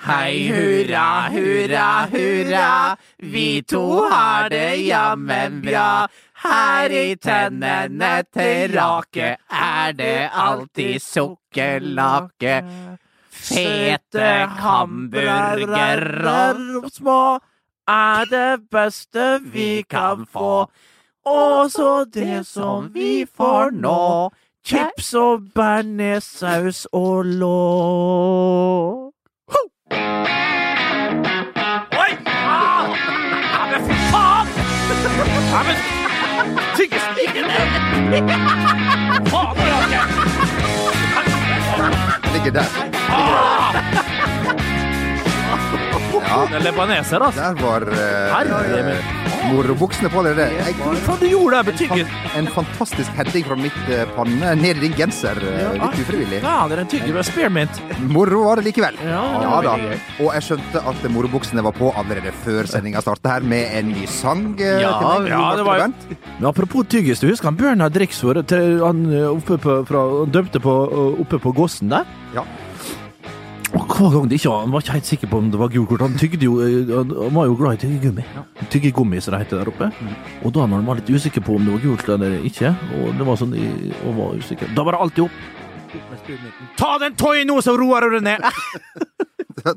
Hei, hurra, hurra, hurra. Vi to har det jammen bra. Her i tennene til Rake er det alltid sukkerlake. Fete hamburgere små er det beste vi kan få. Også det som vi får nå. Chips og bearnéssaus og lår. Oi! Ah! Ja, men fy faen! Ja, men tyggespikkene! Faen, Rake! Ligger der. Det er lebaneser, altså. Der var eh, Herre min. uh, morobuksene på deg, det. Jeg, Hva faen du gjorde der med tygget? en fantastisk heading fra mitt eh, panne ned i din genser. eh, Ja. Litt ufrivillig. Ja, det er en tygge med spearmint. Moro var det likevel. Ja, det Ja var da. veldig gøy. Og jeg skjønte at morobuksene var på allerede før sendinga starta her, med en ny sang. eh, Ja, til meg, ja, det Martin var jo- og Bent. Men apropos tyggis, du husker han Bjørnar Dreksvord? til- Han eh, oppe på, fra, han dømte på, eh, oppe på gåsen der? Ja. Og hver gang det ikke, Han var ikke helt sikker på om det var gult kort. Han tygde jo, eh, han han var jo glad i tyggegummi. Tyggegummi, som det heter der oppe. Mm. Og da når han var litt usikker på om det var gult eller ikke, og det var sånn, i- og var usikker, da var det alltid opp. Ta den toy nå, så roer du deg ned!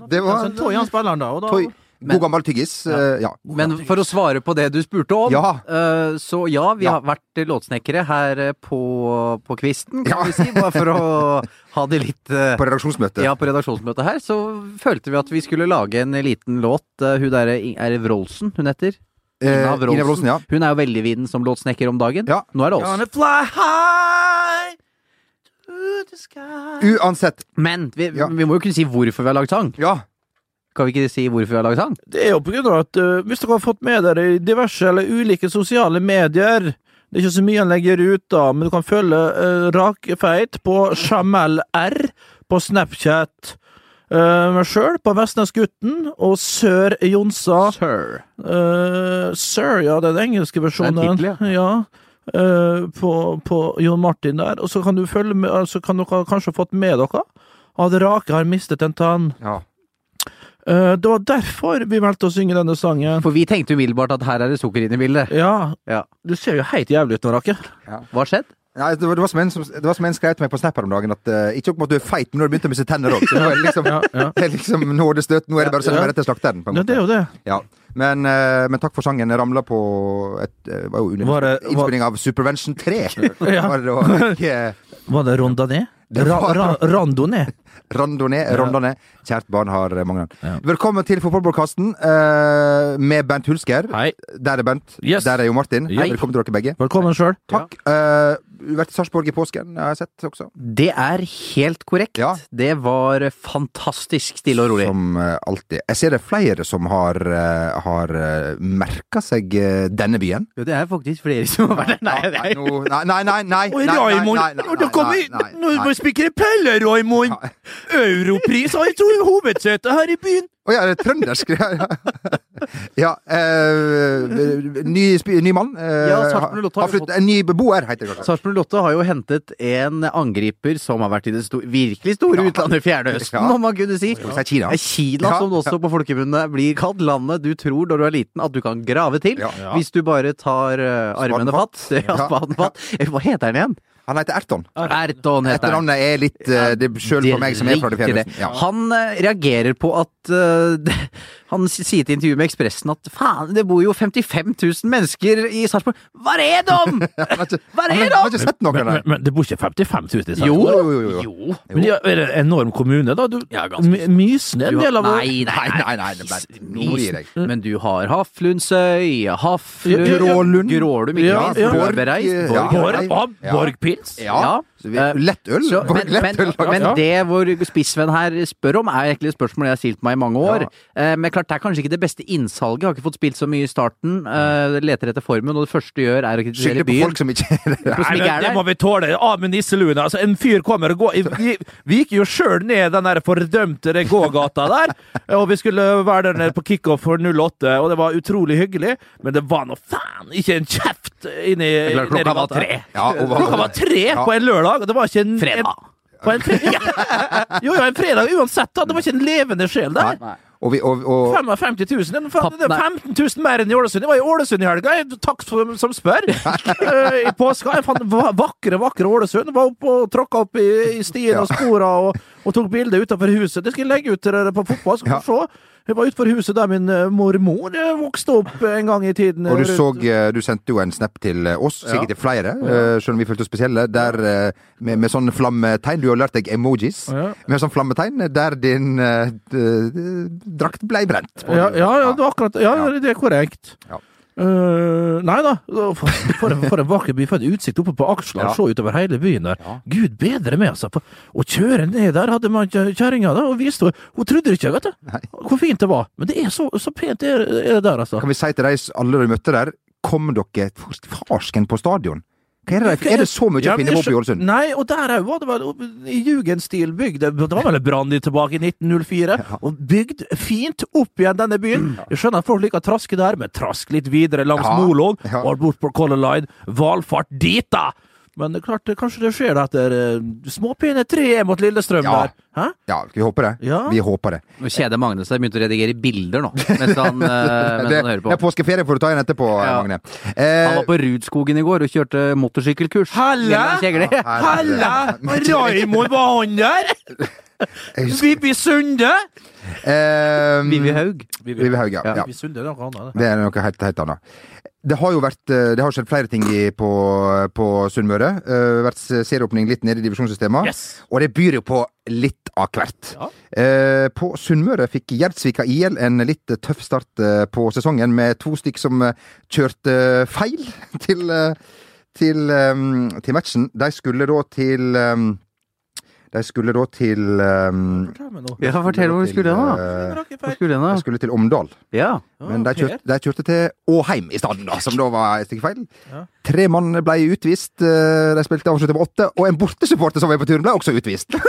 Det var Sånn toy han spiller han da, og da Toy. Men- God gammel tyggis. eh, Ja. Men for å svare på det du spurte om, Ja. eh, så ja, vi Ja. har vært låtsnekkere her eh, på, på kvisten, kan Ja. vi si. Bare for å ha det litt eh, På redaksjonsmøtet. ja, på redaksjonsmøtet her, så følte vi at vi skulle lage en liten låt. Eh, Hun derre Er det Wroldsen hun heter? Eh, Ina Wroldsen. Ina Wroldsen, ja. Hun er jo veldig viden som låtsnekker om dagen. Ja. Nå er det oss. Gonna fly high to the sky. Uansett. Men vi, Ja. vi må jo kunne si hvorfor vi har lagd sang. Ja. Kan vi ikke si hvorfor vi har lagd sang? Det er jo på grunn av at eh, hvis dere har fått med dere i diverse eller ulike sosiale medier Det er ikke så mye han legger ut, da, men du kan følge uh, Rakfeit på Jamel R på Snapchat. Uh, meg sjøl på Vestnesgutten og Sør Jonsa. Sir. Eh, Sir, ja, det er den engelske versjonen. Det er en tittel, ja. Eh, på, på Jon Martin der. Og så kan du følge med, altså kan dere kanskje ha fått med dere at Rake har mistet en tann. Ja. Eh, det var derfor vi valgte å synge denne sangen. For vi tenkte umiddelbart at her er det sukker inne i bildet. Ja, Ja. du ser jo helt jævlig ut nå, Rake. Hva har skjedd? Nei, det, var, det, var som en, som- det var som en skrev til meg på Snap her om dagen at eh, ikke nok med at du er feit, men nå har du begynt å miste tenner òg. Så nå er det liksom, Ja, ja. det er liksom nådestøt. Nå er det bare å sende meg rett til slakteren. på en Ja, måte. det er jo det. Ja. Men, eh, men takk for sangen. Jeg ramla på et, eh, var jo under Var det- var- innspilling av Supervention 3. Ja. Var det, og, eh, Var det Rondané? Det Ra, var- ra, Randoné? Randone, Randone. Kjært barn har eh, mange navn. Ja. Velkommen til fotballpodkasten eh, med Bent Hulsker. Hei. Der er Bent. Yes. Der er jo Martin. Hei. Velkommen til dere begge. Velkommen sjøl. Takk. Eh, Du har vært i Sarpsborg i påsken, har jeg sett også. Det er helt korrekt. Ja. Det var fantastisk stille og rolig. Som eh, alltid. Jeg ser det er flere som har, eh, har eh, merka seg eh, denne byen. Jo, det er faktisk flere som har vært der. Nei, Nei, nå- nei, nei, nei, nei, Oi, nei, nei, Raimond! nei, nei, Nå da kommer vi- nei, nei, nå må nei. vi spikre peller, Raimond! Europris har jo hovedsete her i byen! Å ja, er det trøndersk? Ja, ja. ja eh, ny, spi- ny mann. eh, Ja, Sarpsborg Lotte har har flytt- En ny beboer, heter det kanskje. Sarpsborg Lotte har jo hentet en angriper som har vært i det sto virkelig store Ja. utlandet, Fjerne Østen, Ja. om man kunne si. Skal vi si Kina? Det er Kina, Ja. som det også på folkemunne blir kalt. Landet du tror når du er liten at du kan grave til, Ja. hvis du bare tar eh, armene fatt. Ja, Ja. spaden fatt. Eh, Hva heter den igjen? Han heter Erton. Erton heter den. Etternavnet er litt eh, det sjøl for meg som er fra det Riktig fjerne. det. Ja. Han eh, reagerer på at eh, det- Han s- sier til intervjuet med Ekspressen at faen, det bor jo 55 000 mennesker i Sarpsborg. Hva er det om?! Han har ikke, Hva er det han da? har ikke sett noen Men, der. men, men det bor ikke 55 000 i Jo, Sarpsborg? jo, jo, jo. Jo. Men de er er det en enorm kommune, da? Du, Ja, ganske. My- Mysen er en Du har- del av vår- Nei, nei, Nei, nei. nei, nei, det ble- Is- nå må du gi deg. Men du har Haflundsøy, Haflund Ja, ja, ja. Grålund. Grålum, ikke Ja, minst. ja. Borbereist. Ja. Borg- Borg, ja. Ja. Borgpils? Ja. Eh, Ja. Så vi, lettøl? Så, men, men, lettøl. ja. men det vår spissvenn her spør om, er egentlig et spørsmål jeg har stilt meg i mange år. Eh, Men klart, det er kanskje ikke det beste innsalget. Har ikke fått spilt så mye i starten. Eh, Leter etter formen, og det første du gjør, er å kritisere Skylder på byen. folk som ikke er som Nei, der. ikke men er det der. må vi tåle. Av med nisseluen. Altså, en fyr kommer og går Vi, vi gikk jo sjøl ned den der fordømte den gågata der, og vi skulle være der nede på kickoff for 08, og det var utrolig hyggelig, men det var nå faen ikke en kjeft inni er klart, nedi klokka var gata. tre. Ja, og hva- Klokka var tre Ja. på en lørdag, og det var ikke en Fredag. En, På en fredag. Jo, jo, en fredag uansett, da. Det var ikke en levende sjel der. Nei. Og vi, og, og, 55 000? det er faen- Papp, det er nei. 15 000 mer enn i Ålesund. Jeg var i Ålesund i helga, jeg- takk som, som spør. Eh, I påska. Jeg fant va- vakre, vakre Ålesund. Var oppe og tråkka opp i, i stien og spora og, og tok bilder utafor huset. Det skal jeg legge ut til dere på fotball, skal Ja. du se. Jeg var utenfor huset der min eh, mormor eh, vokste opp en gang i tiden. eh, og du rundt- så eh, Du sendte jo en snap til eh, oss, sikkert til flere, eh, selv om vi følte oss spesielle, der eh, med, med sånn flammetegn. Du har lært deg emojis. Ja. Med sånn flammetegn eh, der din eh, d- d- drakt blei brent. på. Ja, ja, ja, det var akkurat, ja, det er korrekt. Ja. Eh, nei da. For, for, en- for en vakker by. For en utsikt oppe på Aksla. Ja. Se utover hele byen der. Gud bedre meg, altså. For Å kjøre ned der hadde man kjø- kjerringa, da. Og viste, hun trodde det ikke, vet du. Nei. Hvor fint det var. Men det er så, så pent det er, er det der, altså. Kan vi si til de s- alle du møtte der, kom dere for farsken på stadion? Hva er, det, Hva er det så mye Ja, å men finne jeg på oppe i skjø- Ålesund? Nei, og der òg var det vel i jugendstil bygd. Det det var vel Brandy tilbake i 1904. Og bygd fint opp igjen denne byen. Jeg skjønner at folk liker å traske der, men trask litt videre langs Mm. Ja, Molon ja. og bort på Color Line. Valfart dit, da! Men det er klart, det- kanskje det skjer da etter eh, småpine tre mot Lillestrøm Ja. der. Hæ? Ja, skal vi håpe det? Ja. Vi håper det. Nå kjeder Magne seg, begynte å redigere bilder nå, mens han, eh, mens det, han hører det er på. påskeferie, får du ta igjen etterpå, Ja. Magne. Han Eh, var på Rudskogen i går og kjørte motorsykkelkurs. Halla! Gjennom Kjegli. Halla! Raymond, var han der? jeg husker- Vivi Sunde? eh, Vivi Haug. Vivi Haug, ja. ja. Vivi Sunde det er noe annet. det. Det er noe helt, helt annet. Det har jo vært, eh, det har skjedd flere ting i, på, på Sunnmøre. Eh, vært serieåpning litt nede i divisjonssystemet. Yes. Og det byr jo på litt av hvert. Ja. Eh, på Sunnmøre fikk Gjerdsvika IL en litt tøff start eh, på sesongen, med to stykk som eh, kjørte feil til, eh, til, eh, til matchen. De skulle da til eh, De skulle da til eh, Fortell meg nå. Ja, fortell hvor vi skulle hen, da. eh, Hvor skulle De hen, da? skulle til Omdal. Ja. Ah, Men de kjørte, de kjørte til Åheim i stedet, da, som da var et stykke feil. Ja. Tre mann ble utvist. eh, De spilte avslutning på åtte, og en bortesupporter som var på turen, ble også utvist.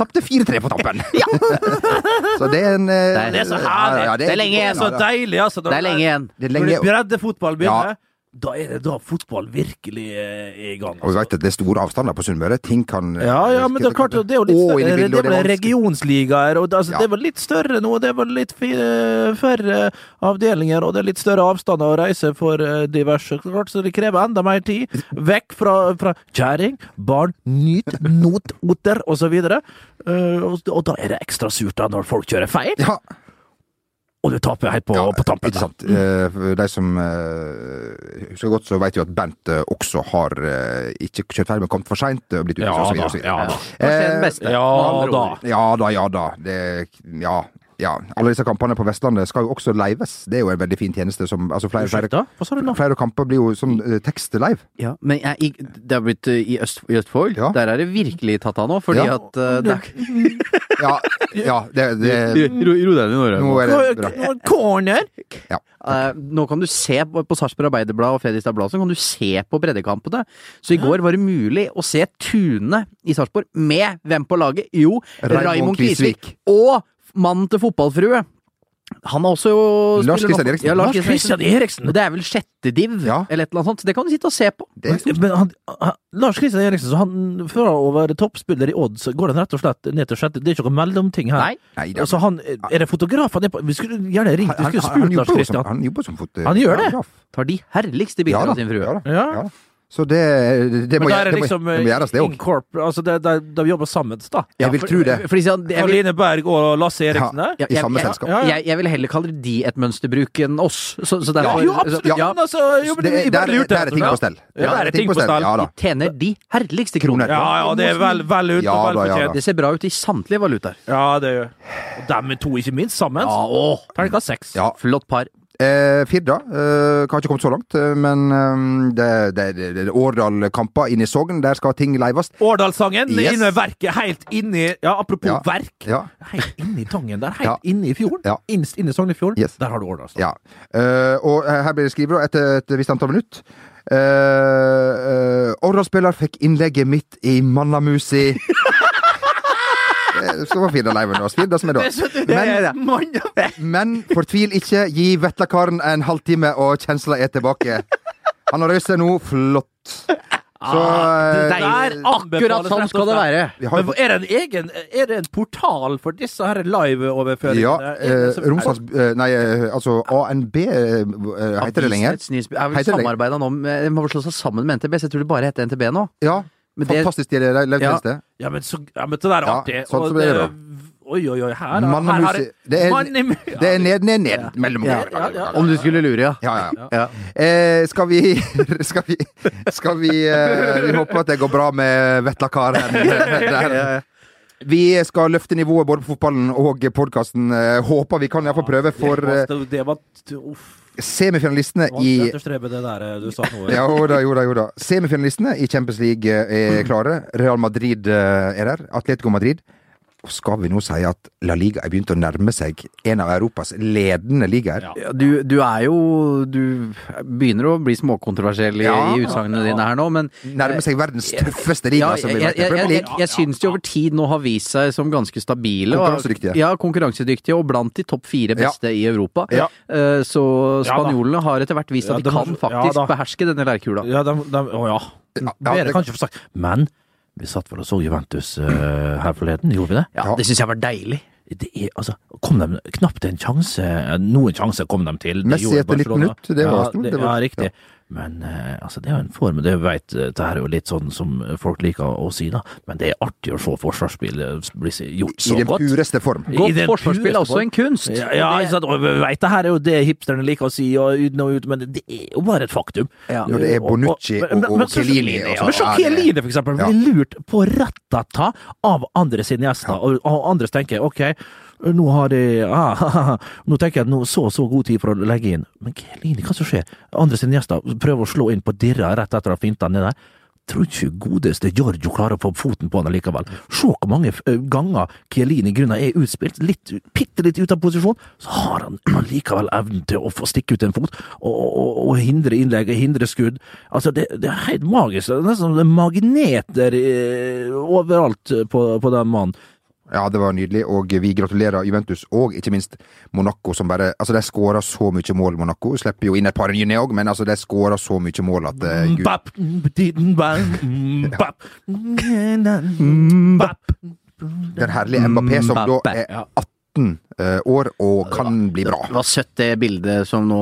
Tapte 4-3 på tampen. så det er en Det eh, er- Det er så ja, herlig! ja, Det er lenge igjen. Det er så deilig, altså. Det er lenge igjen. Det er Når det lenge, breddefotball begynner, da er det da fotball virkelig eh, er i gang. og vi Altså. vet at det er store avstander på Sunnmøre. Ting kan eh, Ja, ja, men det er klart, det er jo litt Å, inn i større, bildet, det og er vel er vanskelig. regionsligaer, og det, altså, Ja. det er vel litt større nå, det er vel litt fi- eh, færre avdelinger, og det er litt større avstander å reise for eh, diverse, klart, så det krever enda mer tid. Vekk fra, fra kjæring, barn, nyt, not, otter, og så videre. Eh, og, og da er det ekstra surt da, når folk kjører feil, Ja, og du taper helt på, ja, på tampen. Ikke sant. Eh, for De som eh, husker godt, så vet jo at Bent eh, også har eh, ikke kjørt feil, men kommet for seint. Blitt utvist, Ja og så da, videre, og så videre. ja da. Eh, Hva skjer den beste? Ja da. Ja da, ja da. Det, ja, ja. Alle disse kampene på Vestlandet skal jo også lives. Det er jo en veldig fin tjeneste som altså flere, flere, Unnskyld, hva sa du nå? flere kamper blir jo sånn eh, tekst-live. Ja, men jeg, i, det har blitt eh, i, Øst, i Østfold. Ja. Der er det virkelig tatt av nå, fordi Ja. at eh, det er- Ja, ja det, det Ro ro deg ned, Nora. Nå er det bra. Corner! Eh, nå kan du se på, på Sarpsborg Arbeiderblad og Fredrikstad Blad, så kan du se på breddekampene. Så i går var det mulig å se Tune i Sarpsborg med hvem på laget? Jo, Raymond Raymond Kvisvik. Kvisvik. Og mannen til fotballfrue. Han er også jo Lars spiller nå- Christian Eriksen. Ja, Lars Lars Christian Eriksen. Christian Eriksen! Og det er vel sjette div, Ja. eller et eller annet sånt. Så det kan du sitte og se på. det, Men, men han, han, Lars Kristian Eriksen, så han fra å være toppspiller i odds, går han rett og slett ned til sjette? Det er ikke noe mellomting her? Nei. Nei, det, Altså, han, er det fotograf han er på? Vi skulle gjerne ringt, vi han, skulle han, spurt han, Lars jobber jo som, Kristian. han jobber som fot... Han gjør det. fotograf. Tar de herligste Ja bildene da. av sin frue. Ja, da. Ja. Ja. Så det, det, må, Men da er det, det må, liksom det må gjøres, det òg. incorp... Altså, det, det, de jobber sammen, da. Jeg vil for- tro det. Fordi sånn, jeg, vil, Karoline Berg og Lasse Eriksen der? Ja, I jeg- samme jeg- selskap. Ja, ja. jeg, jeg vil heller kalle de et mønsterbruk enn oss. Så, så derfor, Jo, absolutt! så- ja, men altså, jo, men Det, vi der, bare lurte der er etter ting det. på stell. altså, Ja, der er ting på stell. Ja da. de tjener de herligste kroner. Ja, ja, det er vel, vel ut Ja og vel da, ja da. fortjent. Det ser bra ut i samtlige valutaer. Ja, det gjør Og dem to, ikke minst, sammen. åh. Terningkast seks. Ja. Flott par. Eh, Firda eh, har ikke kommet så langt, eh, men eh, det, det, det, det er Årdal-kamper inne i Sogn, der skal ting leives. Årdalssangen, Yes. inne i verket, helt inni Ja, apropos Ja. verk. Ja. Helt inni tangen der, helt Ja. inne i fjorden. Ja. Innst inne i Sognefjorden. Yes. Der har du Årdalssangen. Ja. Eh, og her blir det skrevet da, etter et visst antall minutt. Eh, eh, Årdal-spiller fikk innlegget mitt i mannamusi. Det skal være Firda Leiven og Firda som er da. Men, men fortvil ikke, gi vetlakaren en halvtime, og kjensla er tilbake. Han har røyst seg nå. Flott. Så det eh, Der, akkurat sånn skal det være! vi har Men jo hvor- er det, en egen, er det en portal for disse her live-overføringene? ja, Er eh, det som- Romsdals eh, Nei, eh, altså ANB eh, heter det lenger. Avisnettsnyhets- Er vel Heter det lenger? samarbeida nå med De har vel slått seg sammen med NTB, så jeg tror det bare heter NTB nå. Ja, Men det- fantastisk det, det, det, det, det. Ja, men, så, ja, men det der er Ja, artig. sånn og som det er, da. Oi, oi, oi. Her, Mann og her har mus i- det er- Mann i mus- Det er ned, ned, ned. Mellom Ja, ja, ja. Om du skulle lure, ja. Ja, ja, ja. Eh, skal vi Skal vi, skal vi, eh, vi håper at det går bra med Vetla Kar her. Der. Vi skal løfte nivået både på fotballen og podkasten. Håper vi kan iallfall prøve for eh, det, det var uff, vanskelig semifinalistene å i etterstrebe det der eh, du sa nå. eh. jo da, jo da, jo da. Semifinalistene i Champions League eh, er klare. Real Madrid eh, er der. Atletico Madrid. Og skal vi nå si at La Liga er begynt å nærme seg en av Europas ledende ligaer? Ja. Ja, Du, du er jo Du begynner å bli småkontroversiell i, Ja. i utsagnene dine her nå, men Nærme seg verdens tøffeste liga, altså, ja, jeg, som vi jeg, vet. jeg, Premier jeg, League. jeg syns de over tid nå har vist seg som ganske stabile. og- Konkurransedyktige. Ja, konkurransedyktige, og blant de topp fire beste i Europa. Ja. Eh, Så Ja da. spanjolene har etter hvert vist Ja, at de de har- kan ja faktisk da. beherske denne lærkula. Ja, de, de, å ja. Ja, ja, Bedre det- kan ikke få sagt. Men vi satt vel og så Juventus eh, her forleden, gjorde vi det? Ja, det syns jeg var deilig. det er, altså, kom de knapt en sjanse Noen sjanse kom de til. det Messi gjorde etter 19 Barcelona. minutt, det var stort, Ja, det, det var- ja riktig. Men eh, altså, det er jo en form Det vet, eh, det her er jo litt sånn som folk liker å si, da. Men det er artig å se forsvarsspill eh, bli s- gjort I så den godt. pureste form. I Godt den forsvarsspill er pureste også en kunst. Ja, ja altså. ikke sant? og vi vet, det her er jo det hipsterne liker å si, og uten og ut, men det er jo bare et faktum. Ja. Når det er Bonucci og- og Chiellini og Ja, sånn. men så Ja, det- Chiellini, for eksempel, blir lurt på rattata av andre sine gjester, og, og andre tenker ok, nå har de ah, Nå tenker jeg at nå så så god tid for å legge inn. Men Chiellini, hva som skjer? Andre sine gjester prøver å slå inn på dirra rett etter at finta ned der. Tror ikke godeste Giorgio klarer å få foten på han likevel. Se hvor mange eh, ganger Chiellini grunna er utspilt, litt, bitte litt ute av posisjon, så har han allikevel evnen til å få stikke ut en fot og, og, og hindre innlegg, hindre skudd. Altså, det, det er helt magisk. Det er nesten som det er magneter eh, overalt på, på den mannen. Ja, det var nydelig, og vi gratulerer Juventus, og ikke minst Monaco, som bare Altså, de skårer så mye mål, Monaco. Slipper jo inn et par nye òg, men altså, de skårer så mye mål at eh, gud Bap, didden bang, bap, bap. Den herlige Mbappé, som da Mbappé, er 18 eh, år og kan bli bra. Det var søtt det bildet som nå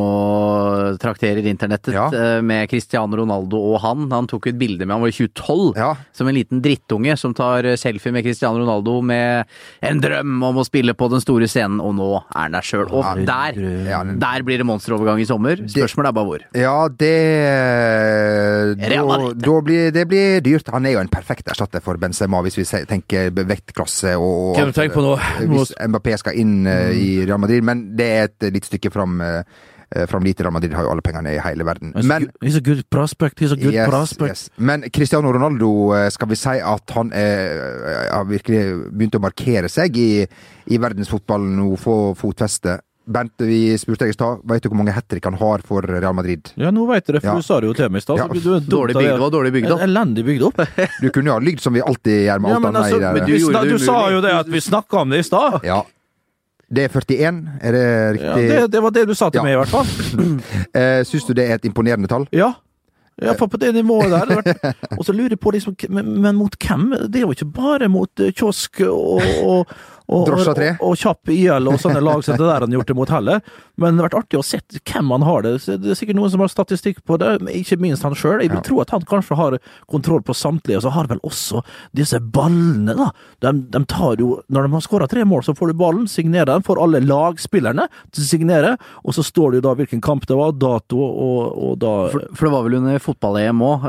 trakterer internettet Ja. eh, med Cristiano Ronaldo og han. Han tok et bilde med han var i 2012, Ja. som en liten drittunge som tar eh, selfie med Cristiano Ronaldo med en drøm om å spille på den store scenen, og nå er han der sjøl. Og der, Ja, den- der blir det monsterovergang i sommer. Spørsmålet er bare hvor. Ja, det Real da, Madrid. da blir, Det blir dyrt. Han er jo en perfekt erstatter for Benzema, hvis vi se- tenker vektklasse og Hvem tenker på Mm. nå? Nå- Eh, Hvis Mbappé skal inn eh, i Real Madrid, men det er et lite stykke fram, eh, fram dit. Real Madrid har jo alle pengene i hele verden. He's a Men good- he's a good prospect, he's a good Yes, prospect. yes. Men Cristiano Ronaldo, eh, skal vi si at han er, eh, har virkelig begynt å markere seg i, i verdensfotballen nå, få fotfeste. Bernt, vi spurte deg i stad, veit du hvor mange hat trick han har for Real Madrid? Ja, nå veit dere, for Ja. du sa det jo til meg i stad. Ja. så du er dumt Dårlig bygd, av det det. var dårlig bygd opp. En Elendig bygd opp. Du kunne jo ha lygd som vi alltid gjør med Ja, alt men annet altså, i det men der. du, Vi gjorde sna- det du sa umulig. jo det at vi snakka om det i stad. Ja. Det er 41, er det Ja, riktig? det, det var det du sa til Ja. meg, i hvert fall. Eh, Syns du det er et imponerende tall? Ja. Ja, for på det nivået der. det har vært- Og så lurer jeg på liksom, k- men, men mot hvem? Det er jo ikke bare mot eh, kiosk og, og og, Drosja og, tre. og Kjapp IL og sånne lag som det der han gjort det mot heller. Men det har vært artig å se hvem han har det. Så Det er sikkert noen som har statistikk på det, men ikke minst han sjøl. Jeg vil tro at han kanskje har kontroll på samtlige, og så har vel også disse ballene, da. De, de tar jo Når de har skåra tre mål, så får du ballen, signerer den, får alle lagspillerne til å signere, og så står det jo da hvilken kamp det var, dato og, og da For, for det var vel under fotball-EM òg.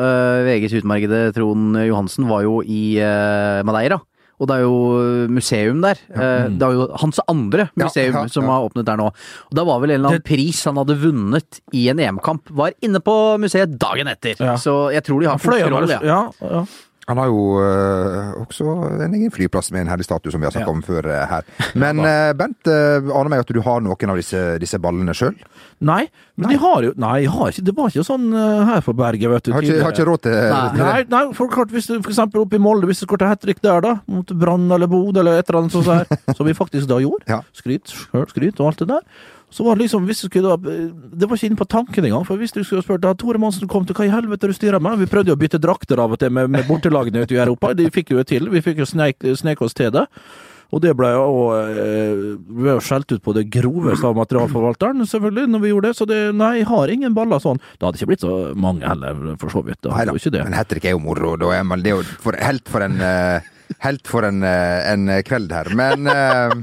VGs eh, utmerkede Trond Johansen var jo i eh, Madeira. Og det er jo museum der. Eh, det er jo hans andre Ja, museum ja, som ja. har åpnet der nå. Og da var vel en eller annen pris han hadde vunnet i en EM-kamp. Var inne på museet dagen etter. Ja. Så jeg tror de har Fløy han, kontroll, eller? ja. Ja, ja. Han har jo eh, også en egen flyplass med en herlig statue, som vi har snakket om før eh, her. Men eh, Bent, eh, aner meg at du har noen av disse, disse ballene sjøl? Nei, men de har jo Nei, jeg har ikke, det var ikke sånn eh, her på berget, vet du. Har, ikke- har ikke råd til Nei. til det? Nei, nei, for klart, hvis du for eksempel oppe i Molde, hvis du skulle ta hat trick der, da, mot Brann eller Bodø eller et eller annet sånt, der, som vi faktisk da gjorde, Ja. skryt, sjøl skryt og alt det der, Så var det liksom, hvis du skulle da, det var ikke inne på tanken engang, for hvis du skulle spurt da, Tore Monsen kom til, hva i helvete du styrer med? Vi prøvde jo å bytte drakter av og til med, med bortelagene ute i Europa, de fikk jo det til, vi fikk jo snek, snek oss til det. Og det ble jo eh, vi ble jo skjelt ut på det groveste av materialforvalteren, selvfølgelig, når vi gjorde det, så det, nei, jeg har ingen baller sånn. Det hadde ikke blitt så mange heller, for så vidt. Det Nei hadde da, jo ikke det. men hat trick er jo moro. Da er man, det er jo for, helt for en eh, Helt for en, eh, en kveld her. Men eh,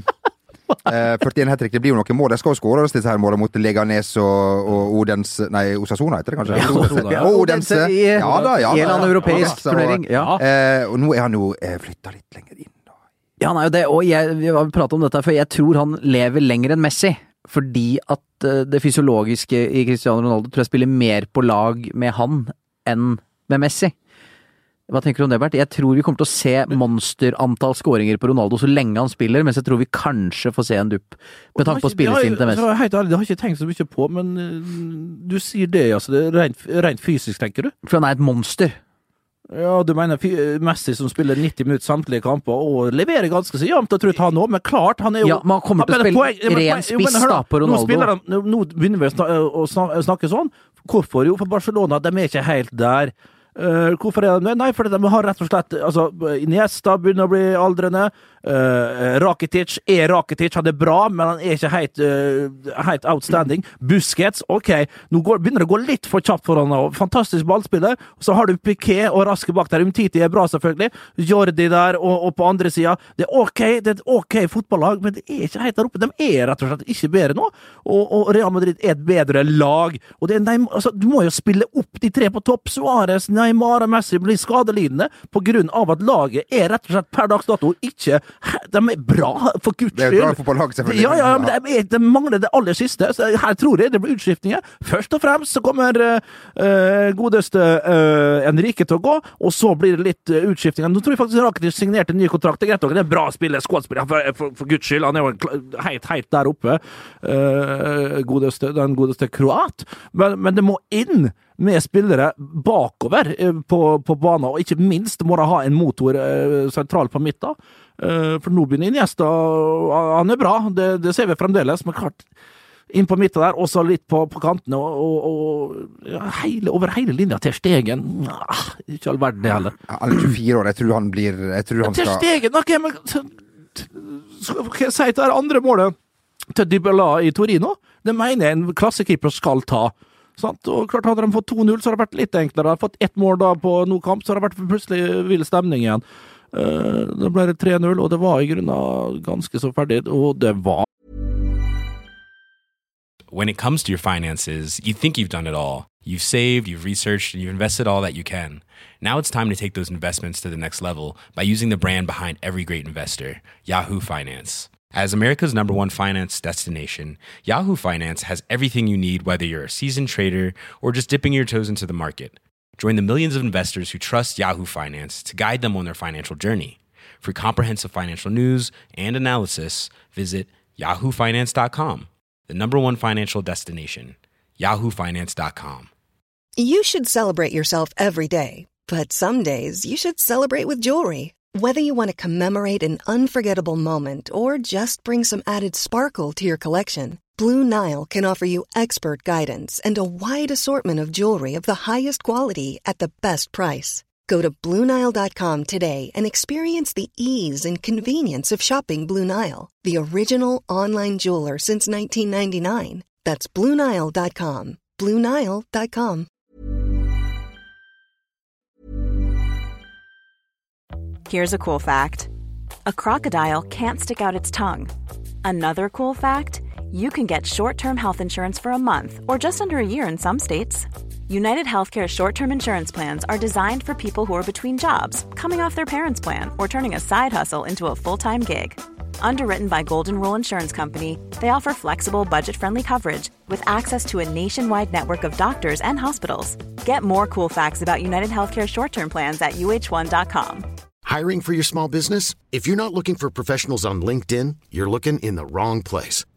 eh, 41 hat trick, det blir jo noen mål. De skal jo skåres, disse her målene mot Leganes og, og Odens Nei, Osasona heter det kanskje? Ja, Osasuna, ja. Og Odense. I Ja da, ja da. en eller annen europeisk Ja da, så, turnering. Ja. eh, og nå er han jo eh, flytta litt lenger inn. da. Ja, han er jo det, og jeg, vi har pratet om dette her før, jeg tror han lever lenger enn Messi. Fordi at eh, det fysiologiske i Cristiano Ronaldo tror jeg spiller mer på lag med han enn med Messi. Hva tenker du om det, Bert? Jeg tror vi kommer til å se monsterantall skåringer på Ronaldo så lenge han spiller, mens jeg tror vi kanskje får se en dupp. Med tanke på Det har ikke- spillestilen til det Messi. har jeg- Helt ærlig, det har jeg ikke tenkt så mye på, men eh, du sier det, altså. Det er rent, rent fysisk, tenker du? For han er et monster. Ja, du mener fy- eh, Messi som spiller 90 minutter samtlige kamper og leverer ganske så jevnt og trutt, han òg, men klart, han er jo Ja, men han kommer til å men spille poeng- ren men poeng- jo, men spiss, hør da, på Nå, Ronaldo. spiller han, nå- nå begynner vi å sna- å sna- snakke sånn. Hvorfor? Jo, for Barcelona de er ikke helt der. Eh, hvorfor er de det? Nei, fordi de har rett og slett altså, Iniesta begynner å bli aldrende. Eh, Rakitic er Rakitic, han er bra, men han er ikke helt, eh, helt outstanding. Busquets, OK, nå går, begynner det å gå litt for kjapt for han nå. Fantastisk ballspiller. Så har du Piquet og Raske bak der. Umtiti er bra, selvfølgelig. Jordi der, og, og på andre sida. Det er OK, det er et OK fotballag, men det er ikke helt der oppe. De er rett og slett ikke bedre nå, og, og Real Madrid er et bedre lag. Og det er Neym- altså, du må jo spille opp de tre på topp. Suárez, Neymar og Messi blir skadelidende på grunn av at laget er rett og slett per dags dato ikke De er bra, for guds Det er skyld. jo bra fotballag, selvfølgelig. Ja, ja, men de, de mangler det aller siste. Så her tror jeg det blir utskiftninger. Først og fremst så kommer eh, eh, godeste eh, Enrique til å gå, og så blir det litt eh, utskiftninger. Nå tror jeg faktisk Rakitic signerte en ny kontrakt. Det er greit nok, det er en bra spiller, skuespiller, for, for, for guds skyld. Han er jo en kla- helt, helt der oppe, eh, godeste, den godeste kroat. Men, men det må inn med spillere bakover eh, på, på banen, og ikke minst må de ha en motor eh, sentralt på midten. Eh, For nå begynner Iniesta og Han er bra, det, det ser vi fremdeles, men klart inn på midten der, og så litt på, på kantene, og, og, og ja, hele, over hele linja til Stegen ah, Ikke all verden, det heller. Ja, Han er 24 år, jeg tror han blir Jeg tror han Til skal Stegen, ok, men t- t- Skal hva skal jeg si til det her andre målet? Til Dybala i Torino? Det mener jeg en klassekeeper skal ta. Sant? Og klart Hadde de fått 2-0, så hadde det vært litt enklere. Hadde de fått ett mål da på noen kamp, så hadde det vært plutselig vill stemning igjen. Eh, Da ble det 3-0, og det var i grunnen ganske så ferdig. Og det var when it comes to your finances, you think you've done it all. You've saved, you've researched, and you've invested all that you can. Now it's time to take those investments to the next level by using the brand behind every great investor, Yahoo Finance. As America's number one finance destination, Yahoo Finance has everything you need, whether you're a seasoned trader or just dipping your toes into the market. Join the millions of investors who trust Yahoo Finance to guide them on their financial journey. For comprehensive financial news and analysis, visit yahoofinance.com, the number one financial destination, yahoofinance.com. You should celebrate yourself every day, but some days you should celebrate with jewelry. Whether you want to commemorate an unforgettable moment or just bring some added sparkle to your collection, Blue Nile can offer you expert guidance and a wide assortment of jewelry of the highest quality at the best price. Go to BlueNile.com today and experience the ease and convenience of shopping Blue Nile, the original online jeweler since 1999. That's BlueNile.com. BlueNile.com. Here's a cool fact a crocodile can't stick out its tongue. Another cool fact you can get short term health insurance for a month or just under a year in some states. United Healthcare short term insurance plans are designed for people who are between jobs, coming off their parents' plan, or turning a side hustle into a full time gig. Underwritten by Golden Rule Insurance Company, they offer flexible, budget friendly coverage with access to a nationwide network of doctors and hospitals. Get more cool facts about United Healthcare short term plans at uh1.com. Hiring for your small business? If you're not looking for professionals on LinkedIn, you're looking in the wrong place.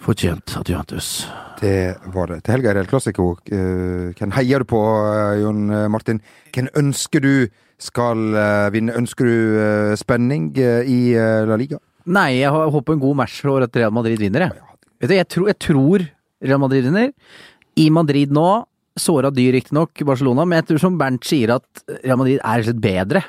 Fortjent Adiantus. Det var det. Til helga er det El Clasico. Eh, Hvem heier du på, eh, Jon eh, Martin? Hvem ønsker du skal eh, vinne? Ønsker du eh, spenning eh, i eh, La Liga? Nei, jeg hå- håper en god match og at Real Madrid vinner, jeg. Vet du, jeg, tror, jeg tror Real Madrid vinner. I Madrid nå, såra dyr riktignok, Barcelona, men jeg tror som Bernt sier at Real Madrid er rett og slett bedre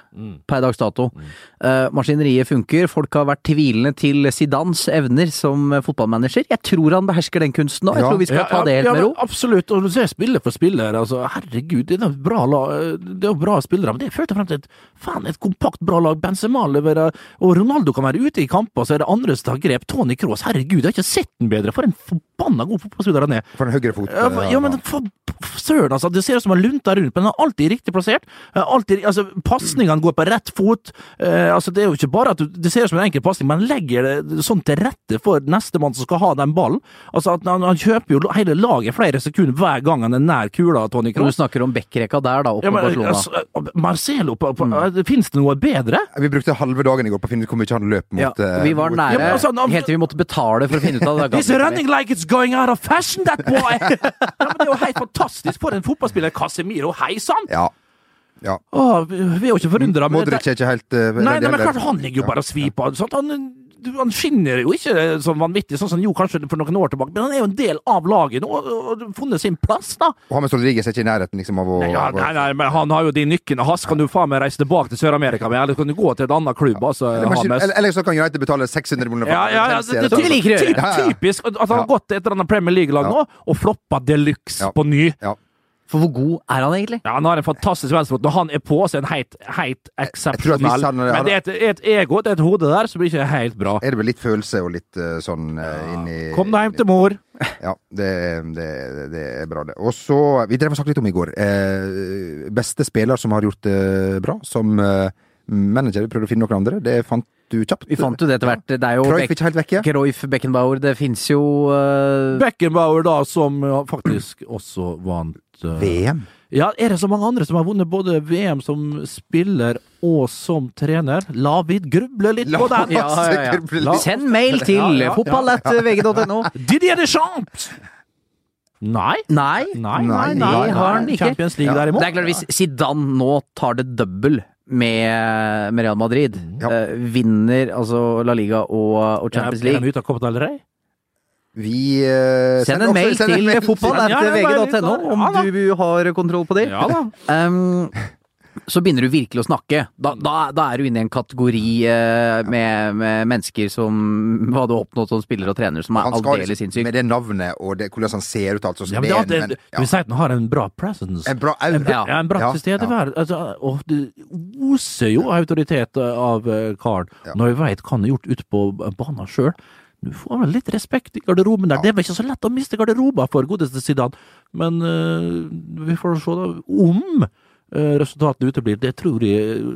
per dags dato. Mm. Eh, maskineriet funker, folk har vært tvilende til Zidans evner som eh, fotballmanager. Jeg tror han behersker den kunsten nå, jeg Ja. tror vi skal ta det helt ja, med ro. men Absolutt. Og du ser spiller for spiller. Altså, herregud, det er da bra, la- det er jo bra spillere. Men det førte frem til et, faen, et kompakt, bra lag. Benzema leverer, og Ronaldo kan være ute i kamper, så er det andre som tar grep. Tony Cross, herregud, jeg har ikke sett den bedre. For en forbanna god fotballspiller han er. For en eh, høyrefot. Ja, for, ja, men for for søren, altså. Det ser ut som han lunter rundt, men han er alltid riktig plassert. Eh, Alltid, altså, Pasningene går på rett fot. Eh, altså, Det er jo ikke bare at du, det ser ut som en enkel pasning, men han legger det sånn til rette for nestemann som skal ha den ballen. Altså, at han, han kjøper jo hele laget flere sekunder hver gang han er nær kula, Tony Du Kroos. snakker om backrekka der, da, oppe Ja, på men, Barcelona. Mm. altså, eh, Marcelo på, på, eh, Finnes det noe bedre? Vi brukte halve dagen i går på å finne ut hvor mye han løp mot. ja, eh, vi var mot- nære Ja, men altså, han- helt til vi måtte betale for å finne ut av det. He's running like it's going out of fashion, that boy! ja, men det er jo helt fantastisk for en fotballspiller. Casemiro, hei sann! Ja. ja. Åh, vi vi er jo ikke forundra. Modric er ikke helt eh, Nei, redd nei, men heller. klart han ligger jo bare og sviper. Sant? Han, du- han skinner jo ikke sånn vanvittig, sånn som han gjorde kanskje for noen år tilbake, men han er jo en del av laget nå, og, og, og funnet sin plass, da. Og James Rodriguez er ikke i nærheten liksom, av å Ja, av å- nei, nei, men han har jo de nykkene hans. Kan du faen meg reise tilbake til Sør-Amerika med, eller kan du gå til en annen klubb, altså, Eller kanskje- James? eller- Eller så kan United betale 600 millioner for Ja, ja, ja, Chelsea, det, eller det, sånn. liker å gjøre. ty- Ja, ja, ja. typisk at han har Ja. gått til et eller annet Premier League-lag nå og floppa de luxe Ja. på ny. Ja. For hvor god er han egentlig? Ja, han har en fantastisk venstrefot. Når han er på, så er han helt, helt tror at eksepsjonell. hvis han- Men det er et, et ego, det er et hode der, som ikke er helt bra. Er det vel litt følelse og litt eh, sånn eh, inn i Kom deg hjem til mor. Ja, det, det, det er bra, det. Og så Vi drev og snakket litt om i går. Eh, beste spiller som har gjort det bra som eh, manager. Vi prøvde å finne noen andre. Det fant du kjapt. Vi fant jo det etter hvert. Det er jo Cruyff Beck- ikke helt vekke. Cruyff, Beckenbauer, det fins jo eh, Beckenbauer, da, som ja, faktisk også vant eh, VM. Ja, er det så mange andre som har vunnet både VM som spiller og som trener? La vi gruble litt på den! Ja, ja, ja. La- Send mail til Ja, ja, ja. fotball.vg.no. Didier Deschamps! Nei. Nei. Nei, nei, nei, Nei, har han ikke. Champions League, Det derimot. er klart, hvis Zidane nå tar det double med, med Real Madrid, Ja. eh, vinner altså La Liga og, og Champions Er de League ute av Copa del Rey? Vi eh, Send sender en også- mail send en til mail Ja, ja, bare fotball.vg.no litt, om ja, da. du har kontroll på det. Ja da. Um, så begynner du virkelig å snakke. Da, da, da er du inne i en kategori eh, med, med mennesker som Hva du har oppnådd som spiller og trener, som er Han skal aldeles liksom, sinnssyk. med det navnet og det, hvordan han ser ut, altså. så Ja, men det, er er- det, en- det, ja. Du vil si at den har en bra presence? En bra aura. Ja. Ja, en bratt Ja, tilstedeværelse. Altså, og det oser jo autoritet eh, av eh, karen. Når vi veit hva han har gjort ute på eh, banen sjøl. Du får vel litt respekt i garderoben der. Det er vel ikke så lett å miste garderober for godeste Zidane. Men eh, vi får se da om eh, resultatene uteblir. Det tror jeg eh,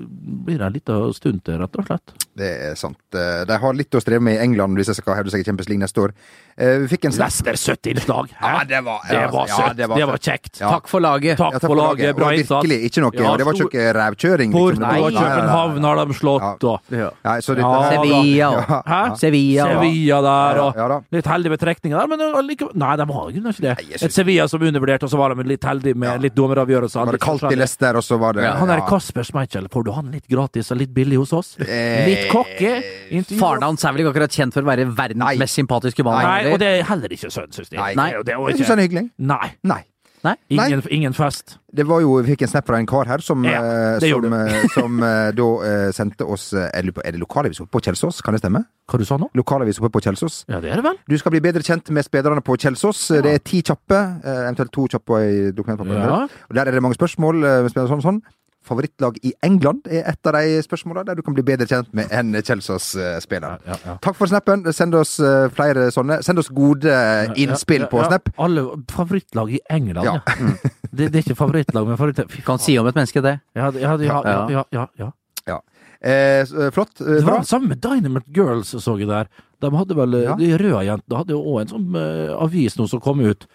blir en liten stund til, rett og slett. Det er sant. Eh, De har litt å streve med i England hvis de skal hevde seg i Champions League neste år. Eh, Vi fikk en snap Lester 70-innslag! Ja, det var- det var ja, søtt! det det, var var søtt. kjekt! Ja. Takk for laget. Takk, Ja, for laget, bra Og innsats! Virkelig ikke noe. Ja, og det var stor- ikke noe rævkjøring. liksom. Porto Det var- og Nei, nei, nei, nei. København har de slått, Ja. og Nei, så dette Ja, her- Sevilla og Hæ? Sevilla. og- Sevilla der, og Ja da. litt heldig med trekninger der, men allikevel Nei, de var jo ikke det. Nei, jeg synes- Et Sevilla som undervurderte, og så var de litt heldige med litt dommeravgjørelser. Var det litt kaldt i forskjellig. Leicester, og så var det Ja, Han er ja. Kasper Schmeichel. Får du han litt gratis og litt billig hos oss? Litt cocky. intervju- Faren hans er vel ikke akkurat kjent for å være verdens Nei. mest sympatiske mann? Nei, og heller. det er heller ikke sønn, syns jeg. Nei. Det er jo- det er jo Jeg ikke- syns han er hyggelig. Nei. Nei. Nei? Ingen, ingen fest. Det var jo, Vi fikk en snap fra en kar her som, Ja, eh, det som, gjorde eh, som eh, da eh, sendte oss eh, Er det er det lokalavis oppe på Kjelsås, kan det stemme? Hva du sa nå? Lokalavis oppe på Kjelsås. Ja, det er det vel? Du skal bli bedre kjent med spillerne på Kjelsås. Det er ti kjappe, eh, eventuelt to kjappe i dokumentpapiret. Ja. Og Der er det mange spørsmål. eh, med spillere Sånn, sånn. Favorittlag i England er et av de spørsmåla der du kan bli bedre kjent med en Kjelsås-spiller. Ja, ja. Takk for snappen. Send oss eh, flere sånne. Send oss gode innspill Ja, på ja, snap. Alle favorittlag i England, Ja. ja. Mm. Det, det er ikke favorittlag, men favorittlag Fy Kan si om et menneske det. Ja, det- ja, det- ja, ja, ja, ja, ja. Eh, s- eh, flott. Eh, Det var bra. det samme med Dynamite Girls, så jeg der. De hadde vel, Ja. De røde jentene hadde jo òg en sånn eh, avis nå som kom ut.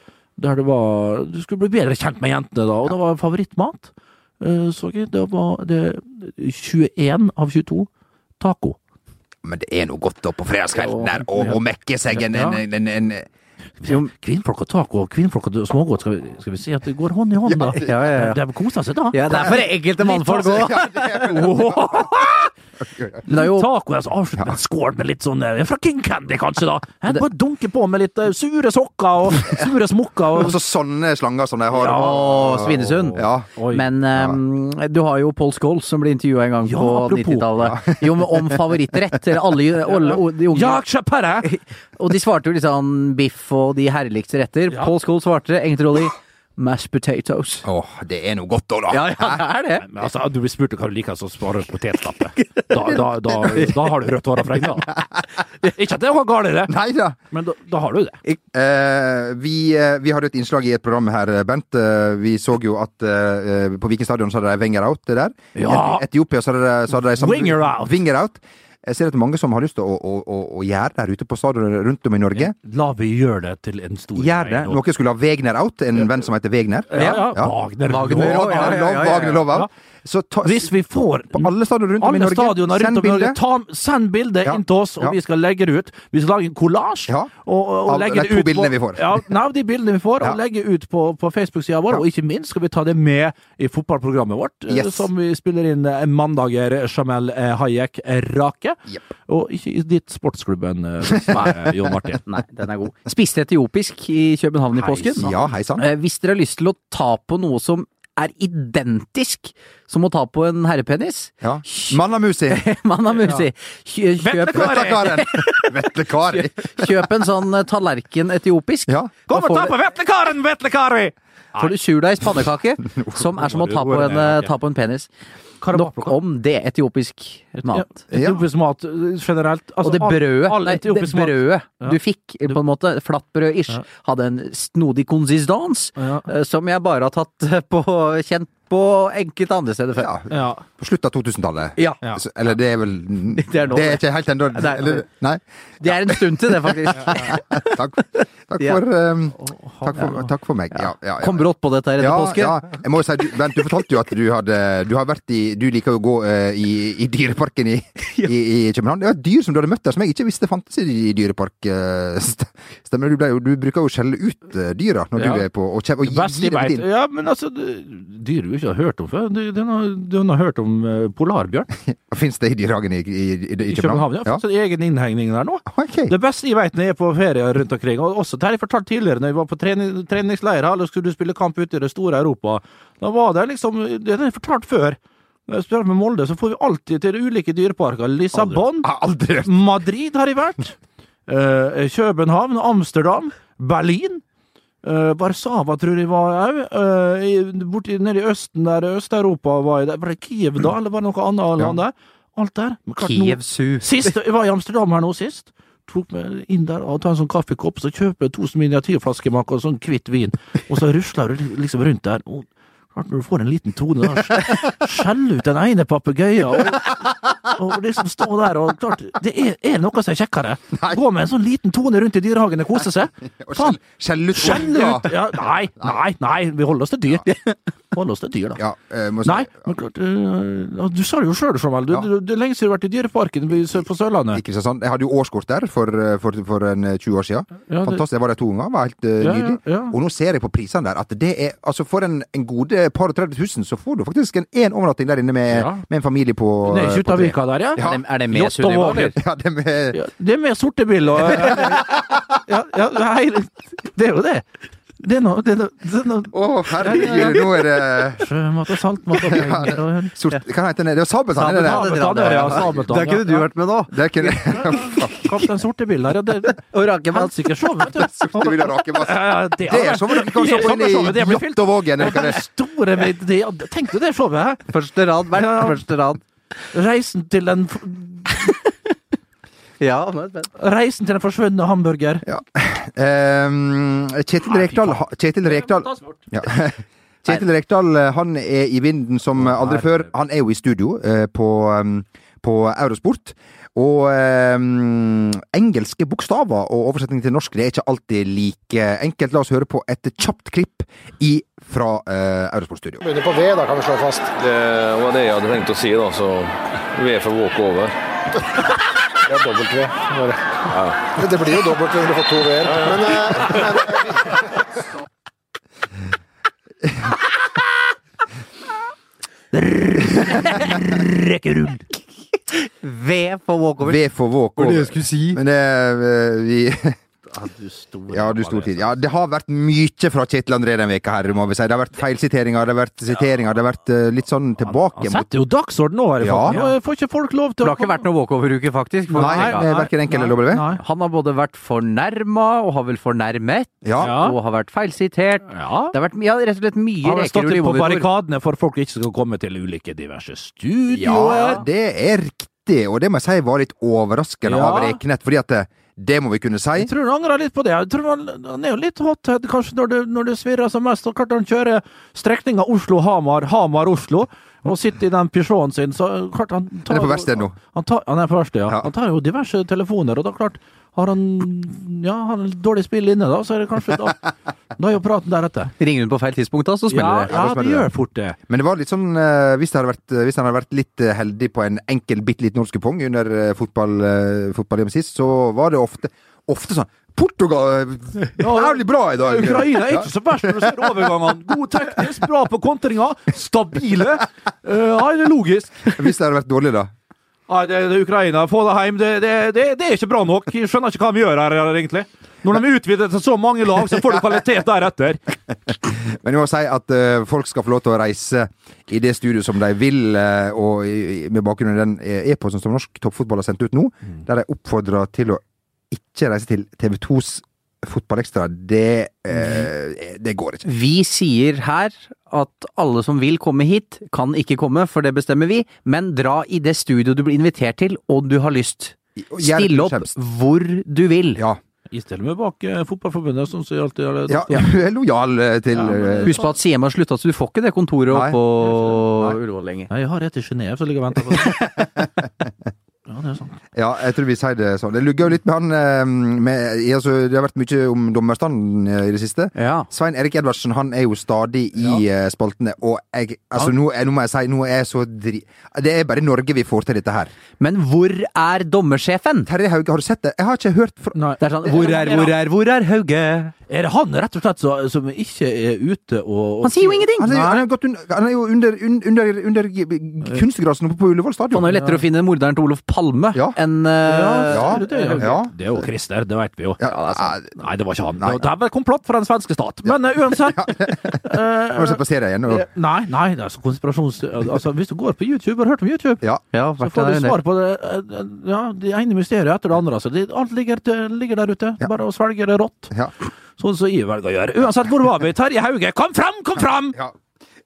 Der det var Du skulle bli bedre kjent med jentene da, og det var favorittmat. eh, Så jeg, det var det 21 av 22 taco. Men det er noe godt da på fredagskvelden der, å Ja. å mekke seg en, Ja. en, en, en, Kvinnfolk og taco og kvinnfolk og smågodt, skal vi, skal vi si at det går hånd i hånd, da? Ja, ja, ja. De koser seg da. Ja, det er for enkelte mannfolk sånn- òg! Men det er jo Taco altså, avslutt med en skål med litt sånn eh, fra King Candy, kanskje, da. Her, bare dunke på med litt eh, sure sokker og sure smokker. Og, Og så altså sånne slanger som de har. Å, Svinesund. Ja. Oi. Men eh, du har jo Paul Scholes som ble intervjua en gang Ja, på apropos. 90-tallet. Jo, men om favorittrett. Eller alle, alle de unge. ja, kjøpere! Og de svarte jo litt sånn biff og de herligste retter. Ja. Paul Scholes svarte egentlig rolig mashed potatoes. Åh, det er noe godt da, da. Ja, ja, det er det. Men altså, du blir spurt om hva du liker, så svarer du potetlappe. Da, da, da, da har du rødt hårafregn, da. Ikke at det var galt, det, Nei da. men da, da har du det. Eh, vi, eh, vi hadde et innslag i et program her, Bent. Eh, vi så jo at eh, på Viken stadion så hadde de Wenger out det der. Ja. I Etiopia så hadde de, så hadde de samme- Winger out. Winger out. Jeg ser at mange som har lyst til å, å, å, å gjøre det her ute på stadion rundt om i Norge. La vi gjøre det til en stor Gjør det. greie nå. Noen skulle ha Wegner out, en venn som heter Wegner. Ja, ja. Ja. Wagner. Wagner, ja, Lov. ja, ja, ja, ja. Wagner lov out. Så ta, Hvis vi får på alle stadioner rundt om i alle Norge, stadioner rundt send om i Norge, bildet. ta, send bildet Ja, inn til oss, og ja. vi skal legge det ut. Vi skal lage en kollasj. Ja, og, og av legge de det to ut på- bildene vi får. Ja, nei, de bildene vi får, Ja. og legge ut på, på Facebook-sida vår. Ja. Og ikke minst skal vi ta det med i fotballprogrammet vårt, eh, Yes. som vi spiller inn eh, mandager. Jamel eh, Hayek eh, Rake. Jep. Og ikke i ditt sportsklubben, eh, nei, Jon Martin. Nei, den er god. Spiste etiopisk i København i Hei påsken. Ja, hei sann. Eh, Hvis dere har lyst til å ta på noe som er identisk som å ta på en herrepenis Ja. Mannamusi. Man har musi. Kjø- Kjøp, Vetle Karen. Vetle Kari. kjøp en sånn eh, tallerken etiopisk. Ja. Da Kom og får ta du- på vetlekaren, vetlekari! får du surdeigs pannekake, som er som å ta på en, eh, ta på en penis. Nok om det. Etiopisk mat. Ja. Etiopisk mat eh, generelt. Og altså, det all- brødet, all nei, det etiopisk mat- brødet Ja. du fikk, eh, på en måte, flatbrød-ish, Ja. hadde en snodig konsistens Ja. eh, som jeg bare har tatt eh, på, kjent på enkelte andre steder før. Ja, Ja. på slutten av 2000-tallet. Ja. Ja. Så- Eller det er vel Det er nå, det. ikke helt ennå. Nei, nei. Eller- Nei. Det er en stund til det, faktisk. Takk, takk, Ja. for, um, takk, for, takk for meg. Ja, ja, ja. Kom brått på dette her etter Ja, påske. ja. Jeg må jo si, du, Bent, du fortalte jo at du hadde Du har vært i Du liker jo å gå eh, i, i Dyreparken i, i, i København. Det var et dyr som du hadde møtt der som jeg ikke visste fantes i i dyrepark. eh, st- Stemmer det? Du, ble jo- du bruker jo å skjelle ut eh, dyra når Ja. du er på og, kjem- og gi, Best gi jeg dem vet. din. Ja, men altså, det- dyr du ikke har hørt om før. Du, den har, den har hørt om eh, polarbjørn Fins det i dyrehagen i, i, i, i i København. Ja. Ja. Så det er egen innhegning der nå. Ok. Det beste jeg vet når jeg er på ferie rundt omkring, og også det har jeg fortalt tidligere, når jeg var på trening, treningsleir her, og skulle spille kamp ute i det store Europa, da var det liksom Det har jeg fortalt før. Når jeg spiller med Molde, så får vi alltid til ulike dyreparker. Lissabon, Jeg har aldri hørt Madrid har jeg vært. Eh, København, Amsterdam, Berlin. Eh, Warszawa tror jeg var òg. borti nede i Østen der, Øst-Europa var jeg der. Var det Kiev da, eller var det noe annet land der? Alt der. Men klart, nå- Kiev Zoo. Sist, jeg var i Amsterdam her nå sist. Tok meg inn der og tar en sånn kaffekopp, så kjøper jeg to sånne miniatyrflaskemakker og sånn hvitt vin, og så rusler du liksom rundt der. Og klart, når du får en liten tone der, skj- skjell ut den ene papegøyen og, og liksom stå der og klart Det er, er det noe som er kjekkere. Nei. Gå med en sånn liten tone rundt i dyrehagen og kose seg. Og Faen, skjell- Skjelle ut skjell Ja. ut! Ja, nei, nei, nei, vi holder oss til dyr. Holder oss til dyr, da. Ja, eh, må si- Nei, men klart eh, Du sa det jo sjøl, Samuel. Du, Ja. du, det er lenge siden du har vært i Dyreparken på Sør- på Sørlandet. I Kristiansand. Jeg hadde jo årskort der for, for, for en eh, 20 år siden. Ja, det- Fantastisk. Jeg var der to ganger. var helt eh, Ja, ja, nydelig. ja. Og nå ser jeg på prisene der at det er altså for en, en gode par og 30 000, så får du faktisk en én overnatting der inne med, Ja. med en familie på Nede i eh, på tre. Kjuttaviga der, ja. Er det, er det med Jåttå Sunniva, Våler. eller? Ja, det med ja. Det er med sortebil og ja, ja, nei, Det er jo det. Det er noe, det er noe, det er noe Å, herregud, nå er det Sjømat og saltmat og penger og sort... Hva heter den? Det var Sabeltann, Sånn er det det? Sabeltann, ja, Sabeltann, Der kunne ja. du vært med nå. Der kunne Kaptein Sortebil der, ja. Det Og Rakemann. Helsike, show, vet du. Sorte vil ha rakemasse. Ja, ja, det Det er som om dere kan se på inn i sommershowet, det blir fylt. Jåttåvågen, eller hva det er. Store med det, ja, Tenk deg det showet, hæ? Første rad, hvert Ja, ja. første rad. Reisen til den f- Ja, nå er jeg spent. Reisen til den forsvunne hamburger. Ehm, Kjetil Rekdal ha- Kjetil Rekdal ja. Kjetil Rekdal eh, han er i vinden som eh, aldri før. Han er jo i studio eh, ehm, på, eh, på Eurosport. Og ehm, engelske bokstaver og oversetning til norsk det er ikke alltid like enkelt. La oss høre på et kjapt klipp i, fra eh, Eurosport-studio. Begynner på V, da kan vi slå fast. Det var det jeg hadde tenkt å si, da, så vi er for walkover. Det er dobbelt V. Bare. Det blir jo dobbelt V når du får to V-er. Men, eh, V for walkover. V for walk over. si? Men det eh, vi Ja, du sto tid. Ja, det har vært mye fra Kjetil André den veka her, må vi si. Det har vært feilsiteringer, det har vært siteringer, det har vært eh, litt sånn tilbake Han mot setter jo dagsorden nå, her i Ja. fatten. Nå eh, får ikke folk lov til Det har ikke vært noen walkover-uke, faktisk. for- Nei, det er verken enkel eller W. Nei. Han har både vært fornærma og har vel fornærmet, Ja. Ja. og har vært feilsitert. Ja. Det har vært ja, rett og slett mye Han har stått rekerull i på monitor. barrikadene for at folk ikke skal komme til ulike diverse ja, studioer. det er riktig, og det må jeg si var litt overraskende Ja. av Rekenet, fordi at det, det må vi kunne si. Jeg tror han angrer litt på det. Jeg tror Han, han er jo litt hothead kanskje når det, når det svirrer som mest. Og klart han kjører strekninga Oslo-Hamar, Hamar-Oslo, og sitter i den Peugeoten sin, så klart han tar, Han er på verksted nå. Han, tar, han er på verksted, ja. Ja. Han tar jo diverse telefoner, og da klart har han ja, har han dårlig spill inne, da, så er det kanskje Da, da er jo praten deretter. Ringer hun på feil tidspunkt, da, så Ja, smeller det. ja, det gjør fort det. Men det var litt sånn eh, Hvis, det hadde vært, hvis han hadde vært litt eh, heldig på en enkel, bitte liten norsk kupong under eh, fotball, eh, fotball sist, så var det ofte, ofte sånn Portugal eh, Jævlig bra i dag! Ukraina er ikke så verst når du ser overgangene. God teknisk, bra på kontringa, stabile. Eh, Ja, det er logisk. Hvis det hadde vært dårlig, da. Nei, det, det er Ukraina, få det hjem. Det, det, det, det er ikke bra nok. Jeg skjønner ikke hva de gjør her, egentlig. Når de utvider til så mange lag, så får du kvalitet deretter. Men jeg må si at eh, folk skal få lov til å reise i det studio som de vil, eh, og i, i- med bakgrunn i den eh, e-posten som norsk toppfotball har sendt ut nå, der de oppfordrer til å ikke reise til TV2s Fotballekstra. Det, eh, det går ikke. Vi sier her at alle som vil komme hit, kan ikke komme, for det bestemmer vi, men dra i det studio du blir invitert til, og du har lyst. Stille opp hvor du vil. Ja. Jeg stiller meg bak eh, Fotballforbundet, som sier alltid ja. Du er lojal eh, til Ja, men- eh, Husk på at Siem har slutta, så du får ikke det kontoret Nei. oppe på Ullevål lenger. Nei, jeg har et i Genéve som ligger og venter på det. Ja, det er sant. Ja, jeg tror vi sier det sånn. Det lugger jo litt med han eh, med, i- altså, Det har vært mye om dommerstanden eh, i det siste. Ja. Svein Erik Edvardsen han er jo stadig i eh, spaltene, og jeg, altså, nå, er- nå må jeg si nå er jeg så dri... Det er bare i Norge vi får til dette her. Men hvor er dommersjefen? Terje Hauge, har du sett det? Jeg har ikke hørt fra Det er sånn, hvor er, hvor er, hvor er Hauge? Er det han rett og slett så, som ikke er ute og, og Han sier jo ingenting! Han er jo, han er jo, gått un, han er jo under, un, under, under g- g- kunstgrasen oppe på Ullevål stadion. Han er jo lettere å finne morderen til Olof Palme Ja. enn eh, Ja. det, er jo, Ja. det er jo Christer, det vet vi jo. Ja, det er sant. Nei, det var ikke han. Nei. Det var et komplott fra den svenske stat. Men eh, uansett Ah, Nå har du sett på serien igjen. Og, Nei, nei, det er så konspirasjons... Altså, hvis du går på YouTube, har du hørt om YouTube? ja. ja, Så vært får der du en del. svar på det, eh, ja, det ene mysteriet etter det andre. Altså. Det, alt ligger, til, ligger der ute. Ja. Bare å svelge det rått. ja. Sånn som jeg velger å gjøre. Uansett hvor var vi? Terje Hauge, kom fram! Kom fram! ja.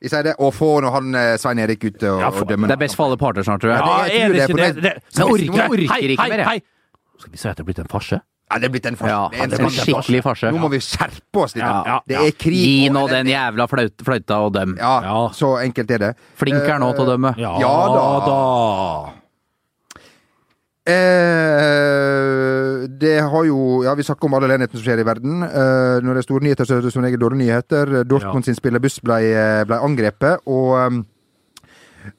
Vi sier det. Og få nå han eh, Svein Erik ute og, Ja, og for- dømme. Det er best for alle parter snart, tror jeg. Ja, jeg tror det er på det- Jeg orker- jeg orker ikke hei, mer, jeg. Hei, hei. Skal vi si at det er blitt en farse? Ja, det er blitt en farse. Ja, Det er en det er en farse. skikkelig farse. Nå må vi skjerpe oss litt. Ja, ja, det ja. er krig. Gi nå og- den jævla flaut- fløyta og dem. Ja, Ja. så enkelt er det. Eh, Flink er nå til å dømme. Ja, da. Eh, det har jo Ja, vi snakker om all elendigheten som skjer i verden. Eh, når det er store nyheter, så er det som regel dårlige nyheter. Eh, Dortmund sin spillerbuss ble, ble angrepet, og um,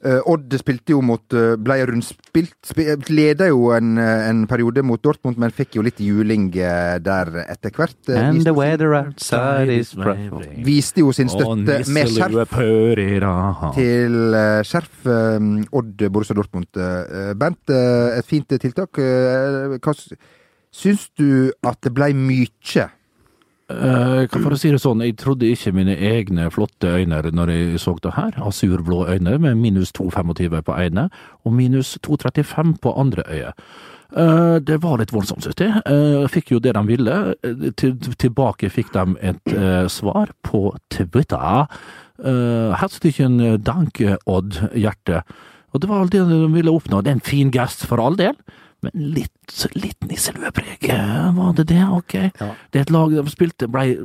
eh, Odd spilte jo mot eh, Ble rundspilt. Sp Leda jo en, eh, en periode mot Dortmund, men fikk jo litt juling eh, der etter hvert. Eh, And viste, the weather outside is viste jo sin støtte med skjerf skjerf. til eh, Skjerf eh, Odd Borussia Dortmund. eh, Bent, eh, et fint eh, tiltak. Eh, Hva s- syns du at det blei mykje? for å si det sånn, jeg trodde ikke mine egne flotte øyne når jeg så det her. Asurblå øyne med minus 2,25 på ene, og minus 2,35 på andre øyet. Eh, det var litt voldsomt, synes jeg. Eh, fikk jo det de ville. Eh, Til, tilbake fikk de et eh, svar på Twitter. Uh, Herzlichen Dank, Odd Hjerte. Og det var alt det de ville oppnå. Det er en fin gest, for all del. Men litt, litt nisseluepreg, eh, var det det? Ok. Det er et lag de spilte, blei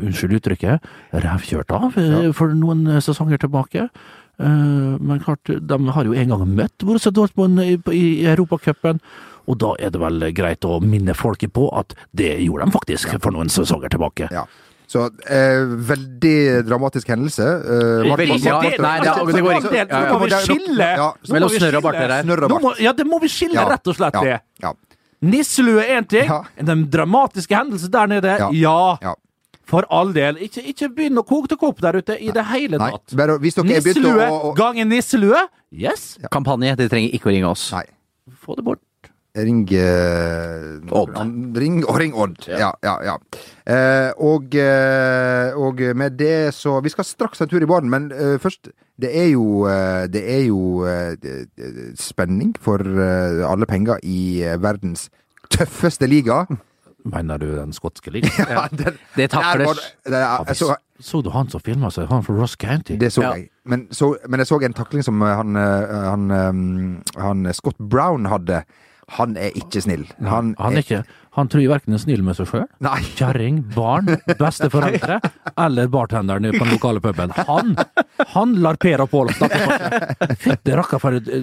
Unnskyld uttrykket, rævkjørt av eh, for noen eh, sesonger tilbake. Eh, Men klart, de har jo en gang møtt Borussia Dortmund i, i Europacupen, og da er det vel greit å minne folket på at det gjorde de faktisk for noen sesonger tilbake. Ja. Så eh, veldig dramatisk hendelse. Eh, Mark- Veldig, ja. Mark- Mark- Nei, det er- det går ikke. Ja, ja. Nå Ja, må ja. Ja, Mellom snørr og barter her. snørr og Nå bart. må, ja, det må vi skille, Ja. rett og slett. Ja. det. Ja. Nisselue er én ting, Ja. den dramatiske hendelsen der nede, Ja. ja. Ja. For all del. Ikke, ikke begynn å koke til kopp der ute i det hele Nei, tatt. bare hvis dere er begynt å, Nisselue, å, å gang en nisselue. Yes, Kampanje. De trenger ikke å ringe oss. Nei. få det bort. Ring eh, Odd. an- Ring, og ring Odd. Ja, ja. ja. Eh, og, eh, og med det så Vi skal straks en tur i baren, men eh, først Det er jo, eh, det er jo eh, det- det- spenning for eh, alle penger i eh, verdens tøffeste liga. Mener du den skotske ligaen? Ja, den- Det der var takles. det- det er- jeg så- Så du han som filma seg? Han fra Ross County? Det så Ja. jeg. Men, så, men jeg så en takling som eh, han, eh, han, eh, han Scott Brown hadde. Han er ikke snill. Han, han, er ikke, han tror verken er snill med seg sjøl, Nei. kjerring, barn, besteforeldre eller bartenderen på den lokale puben. Han, han lar Per og Pål snakke for seg. Fytte rakker for et eh,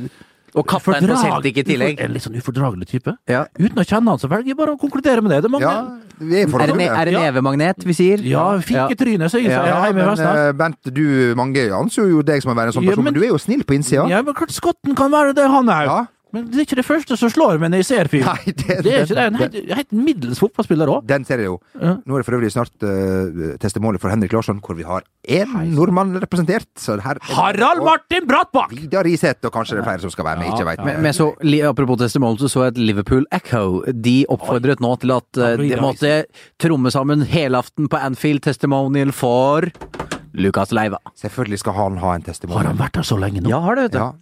Og kaptein på fordrag- Celtic i tillegg. En litt sånn ufordragelig type. Ja. Uten å kjenne han så velger jeg bare å konkludere med det. Det er mange Ja, vi er for Er det, ne det. er det Ja. nevemagnet vi sier? Ja, fikk i trynet, sier jeg. Ja, Ja, Ja, hjemme i men Vestland. eh, Bent, du, mange anser jo deg som å være en sånn Ja, person, men, men- du er jo snill på innsida. Ja, men klart skotten kan være det, han òg. Ja. Men det er ikke det første som slår meg når jeg ser fyren. Nei, det- Det er ikke det. En helt, helt middels fotballspiller òg. Den ser jeg jo. Ja. Nå er det for øvrig snart uh, testimoniet for Henrik Larsson, hvor vi har én nordmann representert. Så her er det- Harald og Martin Brattbakk! Vidar Iseth, og kanskje det er flere som skal være med, Ja. ikke veit. Men, men så, li- apropos testimonial, så så jeg at Liverpool Echo De oppfordret nå til at eh, de måtte tromme sammen helaften på Anfield testimonial for Lucas Leiva. Selvfølgelig skal han ha en testimonial. Har han vært der så lenge nå? Ja, har det, vet du. Ja.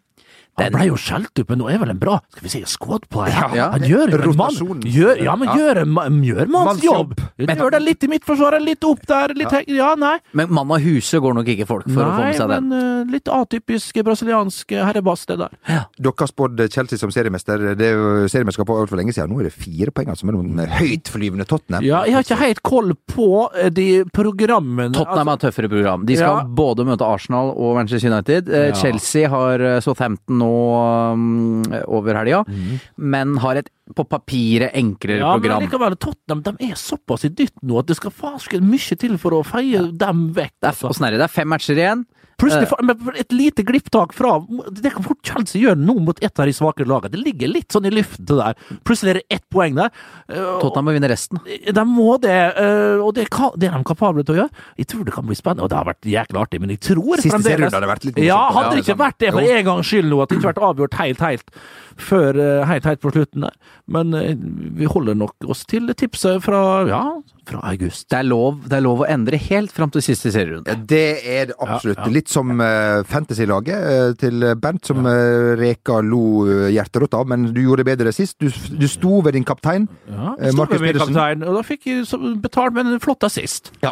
Han ble jo skjelt ut, men nå er vel en bra Skal vi si squad player? Ja. Han gjør jo en mann Rotasjon. gjør, Ja, men Ja. gjør, en ma- gjør manns Manns jobb. jobb! Gjør det litt i midtforsvaret, litt opp der, litt he- Ja, nei. Men mann av huset går nok ikke folk for å få Nei, med seg den. men eh, litt atypisk brasiliansk eh, herrebass, det der. Dere har spådd Chelsea som seriemester. Det er jo seriemesterskapet over for lenge siden. Nå er det fire poeng altså, mellom den høytflyvende Tottenham. Mm. Ja, jeg har ikke helt koll på eh, de programmene Tottenham har et tøffere program. De skal altså- Ja. både møte Arsenal og Manchester United. Eh, Ja. Chelsea har eh, Southampton nå um, over helga, men har et på papiret enklere Mhm. ja, men program. likevel, Tottenham de er såpass i dytt nå at det skal farsken mye til for å feie dem vekk. Det er, sånn, eh, altså. åssen er det? Det er fem matcher igjen. Plutselig får- men et lite glipptak fra Det kan fort Chelsea gjøre nå mot et av de svakere lagene. Det ligger litt sånn i luften det der. Plutselig er det ett poeng der. Eh, og- Tottenham må vinne resten. De må det, eh, og det, er ka- det er de kapable til å gjøre. Jeg tror det kan bli spennende, og det har vært jækla artig, men jeg tror Siste fremdeles- serierunde hadde vært litt morsomt. Ja, hadde det Ja, liksom. ikke vært det for jo. en gangs skyld nå, at det ikke vært avgjort helt, helt før eh, helt, helt på slutten der. Men eh, vi holder nok oss til tipset fra, ja, fra august. Det er lov, det er lov å endre helt fram til siste serierunde. Ja, det er det absolutt. Litt som eh, fantasy-laget eh, til Bernt, som eh, Reka lo eh, hjerterott av, men du gjorde det bedre sist. Du, du sto ved din kaptein. Ja, Eh, Markus Markus Pedersen. Kaptein, og da fikk jeg så- betalt med en flott assist. Ja.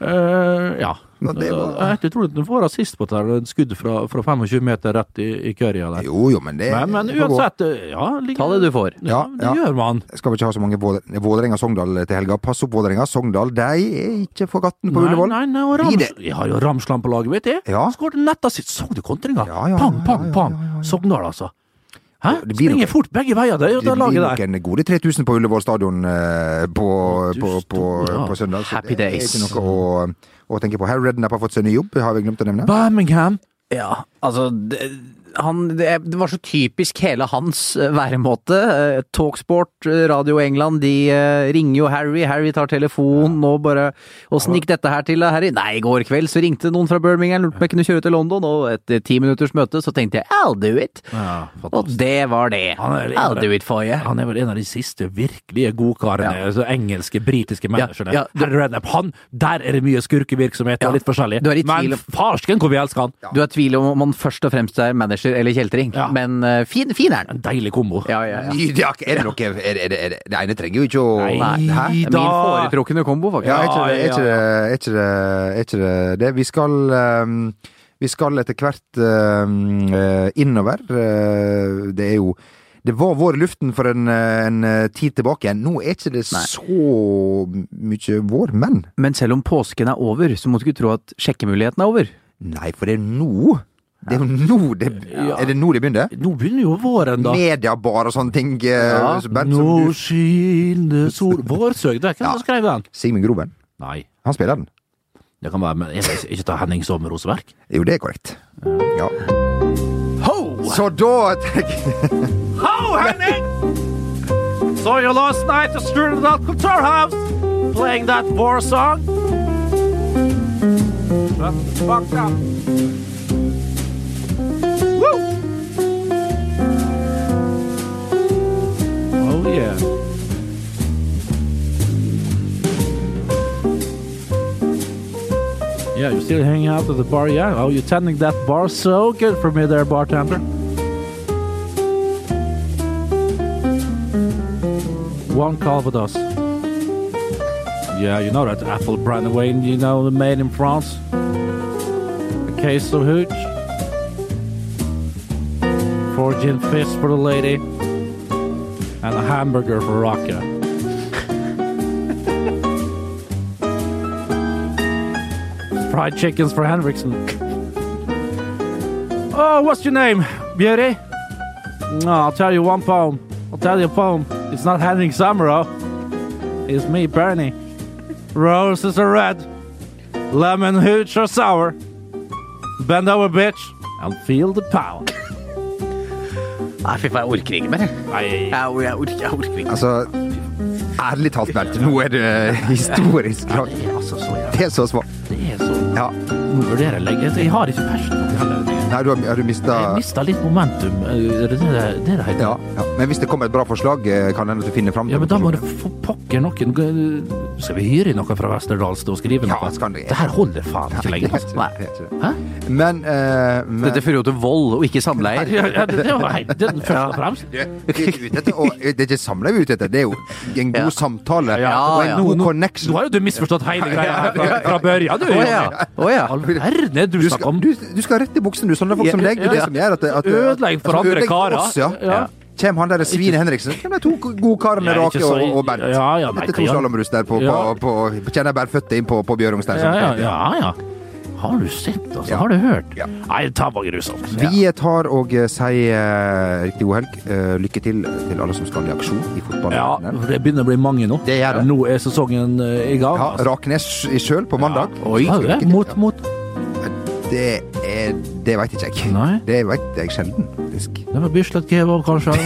Eh, ja. Ja, det var- Eh, Jeg tror at du får assist på det her, en skudd fra, fra 25 meter rett i, i kørja der. Jo, jo, men det Men, men det får gå. uansett, eh, ja. ligger- Ta det du får. Ja, Ja, det ja. gjør man. Skal vi ikke ha så mange Vål- Vålerenga-Sogndal til helga? Pass opp Vålerenga. Sogndal, de er ikke for gatten på Nei, Ullevål. Nei, nei, og Gi Rams, det. jeg har jo Ramsland på laget, vet jeg. Ja. Skåret nett assist. Så du kontringa? Ja, ja, pang, ja, pang, ja, pang. ja, ja, ja. Sogndal, altså. Hæ? Det blir nok- Springer fort begge veier, det, det, Det blir laget nok der. en gode 3000 på Ullevål stadion eh, på, Du på, på, store. på søndag. så Happy det er days. ikke noe å, å tenke på. Harry Redknapp har fått seg ny jobb, har vi glemt å nevne. Birmingham. Ja, altså det, han, det, det var så typisk hele hans eh, væremåte. Eh, Talksport, eh, Radio England, de eh, ringer jo Harry. Harry tar telefonen og bare Åssen gikk dette her til, da, Harry? Nei, i går kveld så ringte noen fra Birmingham, lurte på om jeg kunne kjøre til London, og etter ti minutters møte så tenkte jeg I'll do it. Ja, Og det var det. Han er- I'll do it for you. Han er vel en av de siste virkelige godkarene. altså Engelske, britiske managerne. ja, du- Harry Redknapp, han, der er det mye skurkevirksomhet Ja. og litt forskjellig. Du er i tvil Men om- farsken hvor vi elsker han! Du er i tvil om om han først og fremst er manager eller kjeltring, Ja. men eh, fin, fin er han. En deilig kombo. Ja, ja, ja. Ny- Ja, er det noe er, er, er, er, Det ene trenger jo ikke å Nei, Hæ? Det er Min foretrukne kombo, faktisk. Ja, er ikke det- er ikke Ja, ja, det- er ikke det- er ikke det det? Vi skal ehm, Vi skal etter hvert ehm, eh, innover. Eh, Det er jo Det var vår i luften for en, eh, en eh, tid tilbake. igjen. Nå er ikke det så mye vår, men Men selv om påsken er over, så må du ikke tro at sjekkemuligheten er over. Nei, for det er nå Det er jo nå det, er det, nå det begynner? Nå begynner jo våren, da. Mediabar og sånne ting. eh, Ja. så Bernt, som Nå du- skinner sol Vårsøg, det er ikke Ja. han som skrev den? Sigmund Groben. Nei, Han spiller den. det kan være, men er det ikke ta Henning som roseverk? Jo, det er korrekt. Ja. Så da tenker jeg Ho, Henning! So you last night at Strudel Control House playing that war song? That's fucked up. Woo! Oh yeah. Yeah, you still hanging out at the bar, yeah? Oh, you tending that bar so good for me there, bartender. One Calvados. Yeah, you know that apple Brandeway, you know, made in France. A case of hooch. Four gin fish for the lady. And a hamburger for Raka. Fried chickens for Henriksen. Oh, what's your name, beauty? No, I'll tell you one poem. I'll tell you a poem. It's not Henning Samro. It's me, Bernie. Roses are red. Lemon hooch are sour. Bend over, bitch, and feel the power. Nei, fy faen, jeg orker ikke mer. jeg. Nei, Jeg, jeg, orker, jeg orker ikke. Altså Ærlig talt, Bernt. Nå er det historisk. klart. det er altså så jævlig. Det er så små. Det er så Ja. Nå vurderer jeg legge. Jeg har ikke passion. Nei, du har, har du Jeg mista mista litt momentum. Er det det det det heter? ja, ja. Men hvis det kommer et bra forslag, eh, kan det hende at du finner fram. Ja, til men da må du personen. få pokker noen gå- Skal vi hyre inn noen fra Vesterdals til å skrive noe? Ja, skal du. det her holder faen ikke Det lenger. er ikke Altså. det, det er ikke det. Hæ? Men, eh, men Dette fører jo til vold, og ikke samleier. Ja, ja, det, det var helt det er den første og fremst. Det vi er ute etter, og det er ikke samla vi er ute etter, det er jo en god Ja. samtale Ja, og en ja. god Nå connection. har jo du misforstått hele greia her fra, fra børja, du. Å ja. Å ja. All verden er det du Du snakker skal, om. du, du skal rett i buksen, du, sånne folk som deg. Det er det ja. som gjør at, at Ødelegg for at- andre ødelegg karer. Oss, ja. Ja. Kjem han der Svine Henriksen? Hvem er de to gode karene, Ja, ikke Rake og, så- og Bernt? ja, ja, nei, Dette er to hva gjør- slalåmrus der på, Ja. på, på Kjenner jeg bærføtte inn på, på Bjørungstein. Ja, ja, ja, ja. Har du sett, altså? Ja. Har du hørt? Ja. Nei, det tar bare grusomt. Vi tar og eh, sier eh, riktig god helg. Eh, lykke til til alle som skal i aksjon i Ja, fotballen. for det begynner å bli mange nå. Det gjør det. Nå er sesongen eh, i gang. Ja, altså. Raknes i sjøl på mandag. Oi, Så lykke det. til. Mot, Ja. mot Det er Det veit ikke jeg. Nei. Det veit jeg sjelden, faktisk. Det var Bislett Kebab, kanskje.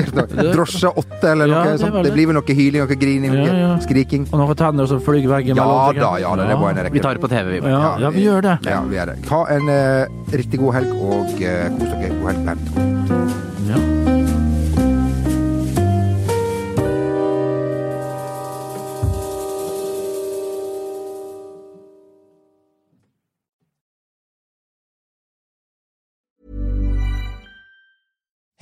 Drosje åtte eller noe Ja, det er sånt. vel Det det. blir vel noe hyling, noe grining, noe Ja, ja. skriking. Og noen tenner som flyr veggen Ja mellom. da, ja da, det var en Vi rekke. tar det på TV, vi. Ja, ja, vi gjør det. Ja, vi gjør det. Ha en eh, riktig god helg, og eh, kos dere. God helg. Bernt. Ja.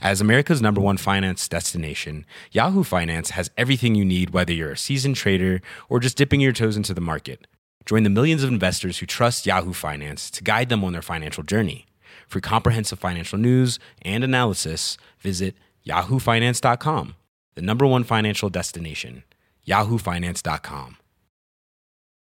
As America's number one finance destination, Yahoo Finance has everything you need, whether you're a seasoned trader or just dipping your toes into the market. Join the millions of investors who trust Yahoo Finance to guide them on their financial journey. For comprehensive financial news and analysis, visit yahoofinance.com the number one financial destination, yahoofinance.com.